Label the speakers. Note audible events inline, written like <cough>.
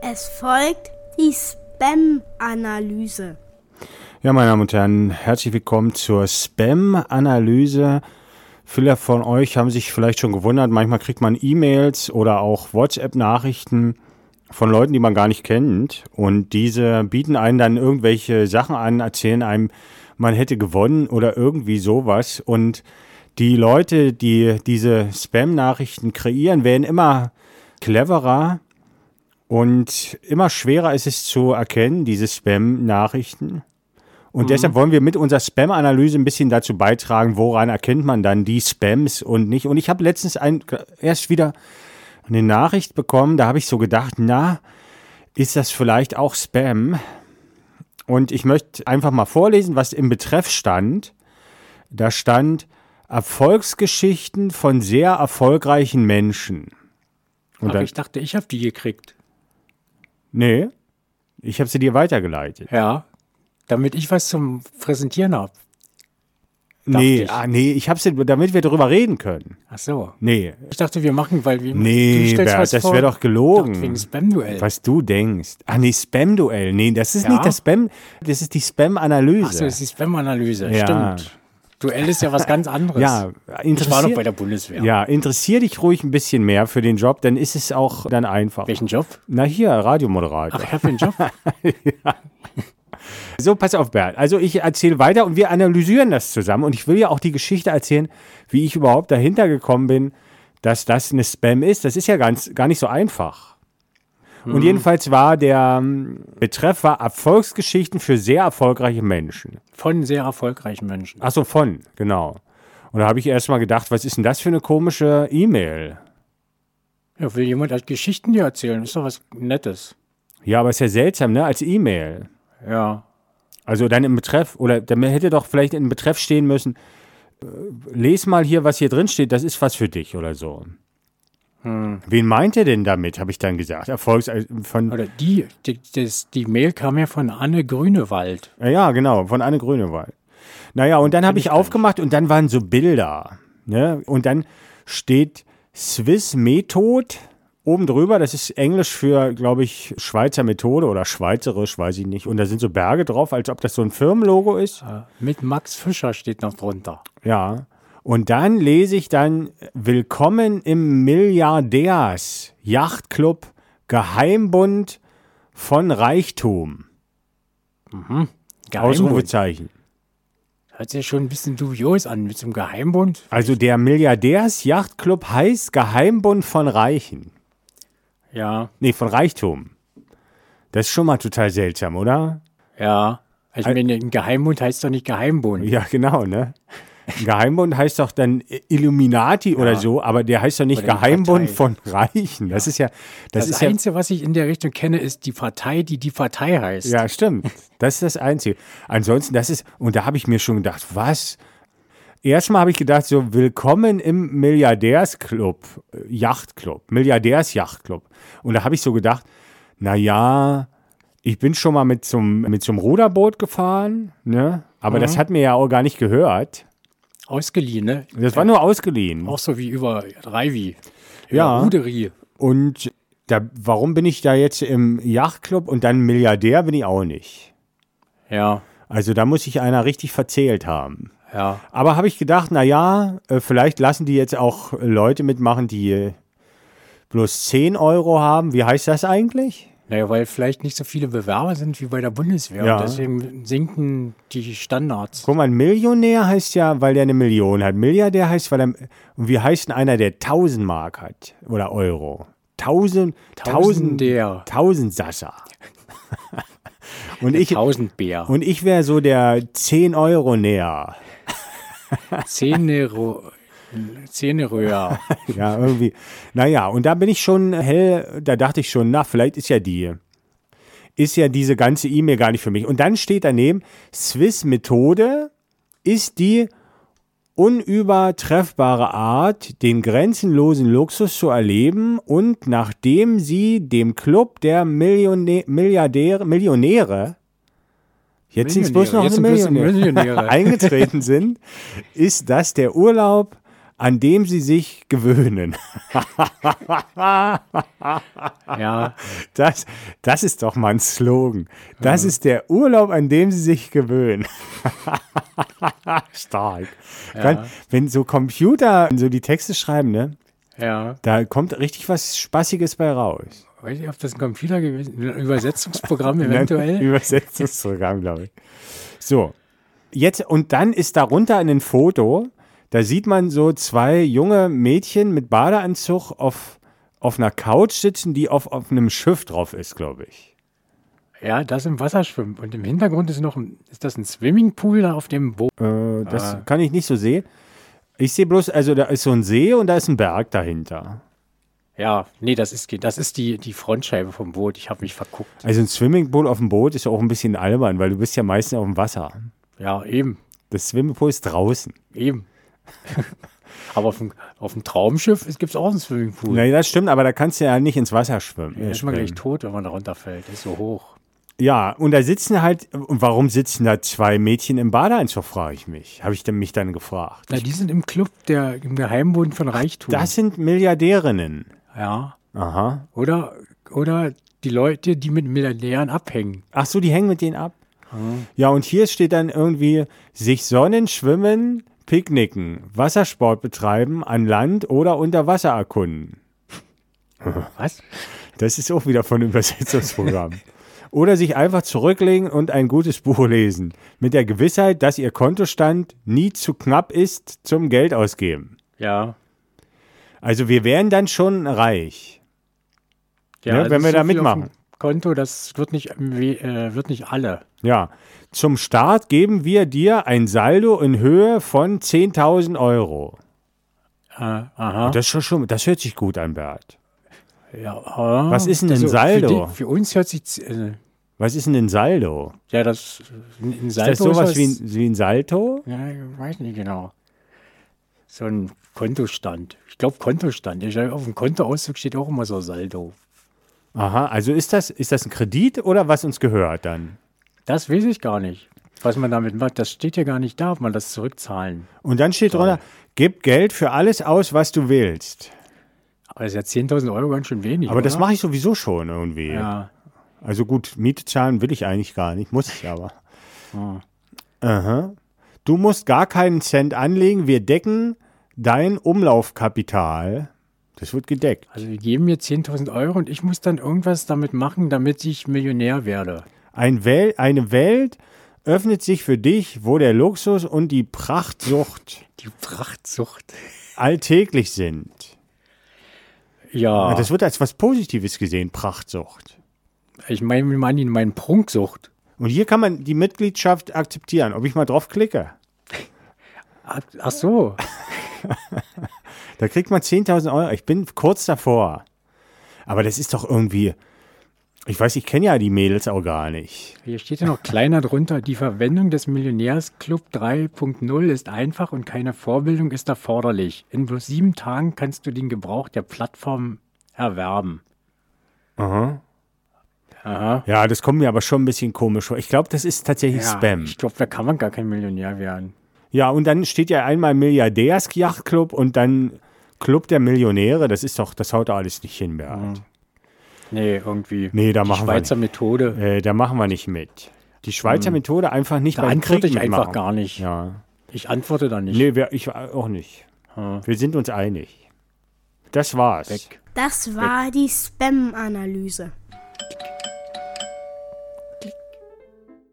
Speaker 1: Es folgt die Spam-Analyse.
Speaker 2: Ja, meine Damen und Herren, herzlich willkommen zur Spam-Analyse. Viele von euch haben sich vielleicht schon gewundert, manchmal kriegt man E-Mails oder auch WhatsApp-Nachrichten von Leuten, die man gar nicht kennt. Und diese bieten einen dann irgendwelche Sachen an, erzählen einem, man hätte gewonnen oder irgendwie sowas. Und die Leute, die diese Spam-Nachrichten kreieren, werden immer cleverer und immer schwerer ist es zu erkennen, diese Spam-Nachrichten. Und deshalb wollen wir mit unserer Spam-Analyse ein bisschen dazu beitragen, woran erkennt man dann die Spams und nicht. Und ich habe letztens ein, erst wieder eine Nachricht bekommen, da habe ich so gedacht, na, ist das vielleicht auch Spam? Und ich möchte einfach mal vorlesen, was im Betreff stand. Da stand Erfolgsgeschichten von sehr erfolgreichen Menschen. Und
Speaker 3: Aber
Speaker 2: dann,
Speaker 3: ich dachte, ich habe die gekriegt.
Speaker 2: nee, ich habe sie dir weitergeleitet.
Speaker 3: Ja. Damit ich was zum Präsentieren habe.
Speaker 2: Nee,
Speaker 3: ich.
Speaker 2: ah, nee, ich habe sie, damit wir darüber reden können.
Speaker 3: Ach so.
Speaker 2: Nee,
Speaker 3: Ich dachte, wir machen, weil wir.
Speaker 2: Nee, Bert, das wär doch gelogen.
Speaker 3: Doch, halt Wegen Spam-Duell.
Speaker 2: was du denkst. Ah, nee, Spam-Duell. Nee, das ist
Speaker 3: Ja?
Speaker 2: nicht das Spam, das ist die
Speaker 3: Ach so,
Speaker 2: Spam-Analyse.
Speaker 3: das ist die Spam-Analyse.
Speaker 2: Ja.
Speaker 3: Stimmt. Duell ist ja was ganz anderes.
Speaker 2: ja,
Speaker 3: Ich war noch bei
Speaker 2: interessier,
Speaker 3: der Bundeswehr.
Speaker 2: ja, interessier dich ruhig ein bisschen mehr für den Job, dann ist es auch dann einfach.
Speaker 3: Welchen Job?
Speaker 2: Na hier, Radiomoderator.
Speaker 3: Ach, ich habe den
Speaker 2: <laughs>
Speaker 3: Job.
Speaker 2: So, pass auf, Bert. Also ich erzähle weiter und wir analysieren das zusammen. Und ich will ja auch die Geschichte erzählen, wie ich überhaupt dahinter gekommen bin, dass das eine Spam ist. Das ist ja ganz, gar nicht so einfach. Und jedenfalls war der ähm, Betreff war Erfolgsgeschichten für sehr erfolgreiche Menschen.
Speaker 3: Von sehr erfolgreichen Menschen.
Speaker 2: Ach so, von, genau. Und da habe ich erst mal gedacht, was ist denn das für eine komische E-Mail?
Speaker 3: Ja, will jemand als Geschichten dir erzählen? Ist doch was Nettes.
Speaker 2: Ja, aber ist ja seltsam, ne? Als E-Mail.
Speaker 3: Ja.
Speaker 2: Also dann im Betreff, oder dann hätte doch vielleicht im Betreff stehen müssen, äh, les mal hier, was hier drin steht, das ist was für dich oder so. Wen meint ihr denn damit, habe ich dann gesagt. Erfolgs äh, von,
Speaker 3: Oder die, die, das, die Mail kam ja von Anne Grünewald.
Speaker 2: ja genau, von Anne Grünewald. Naja, und dann habe ich aufgemacht und dann waren so Bilder. Ne? Und dann steht Swiss Method oben drüber. Das ist Englisch für, glaube ich, Schweizer Methode oder Schweizerisch, weiß ich nicht. Und da sind so Berge drauf, als ob das so ein Firmenlogo ist.
Speaker 3: Mit Max Fischer steht noch drunter.
Speaker 2: Ja. Und dann lese ich dann Willkommen im Milliardärs Yachtclub Geheimbund von Reichtum.
Speaker 3: Geheimbund.
Speaker 2: Ausrufezeichen.
Speaker 3: Hört sich schon ein bisschen dubios an mit so einem Geheimbund.
Speaker 2: Also der Milliardärs Yachtclub heißt Geheimbund von Reichen.
Speaker 3: Ja,
Speaker 2: Nee, von Reichtum. Das ist schon mal total seltsam, oder?
Speaker 3: ja. Also, Ich meine, ein Geheimbund heißt doch nicht Geheimbund.
Speaker 2: Ja, genau, ne? Geheimbund heißt doch dann Illuminati oder so, aber der heißt doch nicht
Speaker 3: Oder die
Speaker 2: Geheimbund von
Speaker 3: Partei.
Speaker 2: Reichen. Das ist ja, das,
Speaker 3: Das,
Speaker 2: ist ja
Speaker 3: Einzige, was ich in der Richtung kenne, ist die Partei, die die Partei heißt.
Speaker 2: Ja, stimmt. Das ist das Einzige. Ansonsten, das ist, und da habe ich mir schon gedacht, was? Erstmal habe ich gedacht, so, willkommen im Milliardärsclub, äh, Yachtclub, Milliardärs-Yachtclub. Und da habe ich so gedacht, na ja, ich bin schon mal mit zum, mit zum Ruderboot gefahren, ne? Aber das hat mir ja auch gar nicht gehört.
Speaker 3: Ausgeliehen, ne?
Speaker 2: Das war nur ausgeliehen.
Speaker 3: Auch so wie über Reivi.
Speaker 2: Ja.
Speaker 3: Über Ruderi.
Speaker 2: Und da, warum bin ich da jetzt im Yachtclub und dann Milliardär bin ich auch nicht?
Speaker 3: Ja,
Speaker 2: Also da muss sich einer richtig verzählt haben.
Speaker 3: ja.
Speaker 2: Aber habe ich gedacht, naja, vielleicht lassen die jetzt auch Leute mitmachen, die äh, bloß 10 Euro haben. Wie heißt das eigentlich?
Speaker 3: Naja, weil vielleicht nicht so viele Bewerber sind wie bei der Bundeswehr.
Speaker 2: Ja.
Speaker 3: Und deswegen sinken die Standards.
Speaker 2: Guck mal, ein Millionär heißt ja, weil der eine Million hat. Milliardär heißt, weil er. Und wie heißt denn einer, der 1000 Mark hat? Oder Euro? 1000.
Speaker 3: Tausender.
Speaker 2: Tausendsasser. <laughs> und, ich,
Speaker 3: Tausendbär.
Speaker 2: und ich wäre so der 10 Euro näher.
Speaker 3: Zähne,
Speaker 2: <laughs>
Speaker 3: Zähneröhr.
Speaker 2: Ja, irgendwie. Naja, und da bin ich schon hell, da dachte ich schon, na, vielleicht ist ja die, ist ja diese ganze E-Mail gar nicht für mich. Und dann steht daneben, Swiss-Methode ist die unübertreffbare Art, den grenzenlosen Luxus zu erleben und nachdem sie dem Club der Millionä Milliardäre, Millionäre, jetzt sind es bloß noch <laughs>
Speaker 3: Millionäre, jetzt
Speaker 2: eine
Speaker 3: sind bloß
Speaker 2: Millionäre,
Speaker 3: Millionäre.
Speaker 2: eingetreten sind, ist das der Urlaub an dem sie sich gewöhnen.
Speaker 3: Ja,
Speaker 2: Das, das ist doch mal ein Slogan. Das ist der Urlaub, an dem sie sich gewöhnen. Stark. Kann, wenn so Computer so die Texte schreiben, ne,
Speaker 3: ja.
Speaker 2: da kommt richtig was Spaßiges bei raus. Ne?
Speaker 3: Weiß nicht, ob das ein Computer gewesen ist. Ein <laughs> Übersetzungsprogramm
Speaker 2: <laughs>
Speaker 3: eventuell.
Speaker 2: Übersetzungsprogramm, glaube ich. So, jetzt und dann ist darunter ein Foto, da sieht man so zwei junge Mädchen mit Badeanzug auf, auf einer Couch sitzen, die auf, auf einem Schiff drauf ist, glaube ich.
Speaker 3: Ja, das im Wasser schwimmt. Und im Hintergrund ist noch ein, ist das ein Swimmingpool da auf dem Boot.
Speaker 2: Äh, das kann ich nicht so sehen. Ich sehe bloß, also da ist so ein See und da ist ein Berg dahinter.
Speaker 3: Ja, nee, das ist, das ist die, die Frontscheibe vom Boot. Ich habe mich verguckt.
Speaker 2: Also ein Swimmingpool auf dem Boot ist ja auch ein bisschen albern, weil du bist ja meistens auf dem Wasser.
Speaker 3: Ja, eben,
Speaker 2: Das Swimmingpool ist draußen.
Speaker 3: eben. <laughs> Aber auf dem, auf dem Traumschiff gibt es auch einen Swimmingpool.
Speaker 2: Nee, das stimmt, aber da kannst du ja nicht ins Wasser schwimmen.
Speaker 3: Da ist
Speaker 2: springen.
Speaker 3: man gleich tot, wenn man da runterfällt. Ist so hoch.
Speaker 2: Ja, und da sitzen halt, und warum sitzen da zwei Mädchen im Badeanzug, frage ich mich. Habe ich denn mich dann gefragt.
Speaker 3: Na, die sind im Club, der im Geheimboden von Reichtum.
Speaker 2: Das sind Milliardärinnen.
Speaker 3: Ja.
Speaker 2: Aha.
Speaker 3: Oder, oder die Leute, die mit Milliardären abhängen.
Speaker 2: Ach so, die hängen mit denen ab. Ja, und hier steht dann irgendwie, sich sonnen, schwimmen, picknicken, Wassersport betreiben, an Land oder unter Wasser erkunden.
Speaker 3: Was?
Speaker 2: Das ist auch wieder von einem <laughs> Übersetzungsprogramm. Oder sich einfach zurücklegen und ein gutes Buch lesen. Mit der Gewissheit, dass ihr Kontostand nie zu knapp ist zum Geld ausgeben.
Speaker 3: Ja.
Speaker 2: Also wir wären dann schon reich. Ne,
Speaker 3: also
Speaker 2: wenn wir
Speaker 3: so
Speaker 2: da
Speaker 3: viel auf dem
Speaker 2: mitmachen.
Speaker 3: Konto, das wird nicht, we- äh, wird nicht alle.
Speaker 2: Ja. Zum Start geben wir dir ein Saldo in Höhe von 10.000 Euro.
Speaker 3: Äh, aha.
Speaker 2: Das, ist schon- schon, das hört sich gut an, Bert.
Speaker 3: Ja, ah.
Speaker 2: Was ist denn ein Saldo?
Speaker 3: Für, die, für uns hört sich äh,
Speaker 2: Was ist denn ein Saldo?
Speaker 3: ja das ein ein
Speaker 2: Ist
Speaker 3: Saldo
Speaker 2: das sowas wie
Speaker 3: was-
Speaker 2: ein, wie ein Salto?
Speaker 3: ja, ich weiß nicht genau. So ein Kontostand. Ich glaube Kontostand. Ich, glaub, auf dem Kontoauszug steht auch immer so Saldo.
Speaker 2: Aha, also ist das, ist das ein Kredit oder was uns gehört dann?
Speaker 3: Das weiß ich gar nicht. Was man damit macht, das steht ja gar nicht da, ob man das zurückzahlen.
Speaker 2: Und dann steht drunter, gib Geld für alles aus, was du willst.
Speaker 3: Aber das ist Also ja 10.000 Euro ganz schön wenig.
Speaker 2: Aber
Speaker 3: oder?
Speaker 2: das mache ich sowieso schon irgendwie.
Speaker 3: Ja,
Speaker 2: Also gut, Miete zahlen will ich eigentlich gar nicht, muss ich aber. Ah. Aha. Du musst gar keinen Cent anlegen, wir decken dein Umlaufkapital. Das wird gedeckt.
Speaker 3: also wir geben mir 10.000 Euro und ich muss dann irgendwas damit machen, damit ich Millionär werde.
Speaker 2: Ein Wel eine Welt öffnet sich für dich, wo der Luxus und die Prachtsucht
Speaker 3: Die Prachtsucht.
Speaker 2: alltäglich sind.
Speaker 3: Ja,
Speaker 2: Das wird als was Positives gesehen, Prachtsucht.
Speaker 3: ich meine, wir meinen ihn meinen Prunksucht.
Speaker 2: Und hier kann man die Mitgliedschaft akzeptieren, ob ich mal drauf klicke.
Speaker 3: Ach, ach so,
Speaker 2: Da kriegt man 10.000 Euro. Ich bin kurz davor. Aber das ist doch irgendwie. Ich weiß, ich kenne ja die Mädels auch gar nicht.
Speaker 3: hier steht ja noch kleiner drunter. Die Verwendung des Millionärsclub 3.0 ist einfach und keine Vorbildung ist erforderlich. In bloß sieben Tagen kannst du den Gebrauch der Plattform erwerben. Aha.
Speaker 2: Ja, das kommt mir aber schon ein bisschen komisch vor. Ich glaube, das ist tatsächlich
Speaker 3: Ja,
Speaker 2: Spam.
Speaker 3: Ich glaube, da kann man gar kein Millionär werden.
Speaker 2: Ja, und dann steht ja einmal Milliardärs-Yacht-Club und dann Club der Millionäre. Das ist doch, das haut doch alles nicht hin, Bernd.
Speaker 3: Mhm. Nee, irgendwie.
Speaker 2: Nee, da
Speaker 3: Die
Speaker 2: machen wir
Speaker 3: Schweizer Methode.
Speaker 2: Äh, da machen wir nicht mit. Die Schweizer Methode einfach nicht
Speaker 3: Mhm. Da
Speaker 2: beim
Speaker 3: antworte
Speaker 2: Krieg
Speaker 3: ich einfach
Speaker 2: mitmachen.
Speaker 3: gar nicht.
Speaker 2: Ja.
Speaker 3: Ich antworte da nicht.
Speaker 2: Nee, wir, ich auch nicht. Wir sind uns einig. Das war's.
Speaker 3: Mhm. Weg.
Speaker 1: Das war die Spam-Analyse.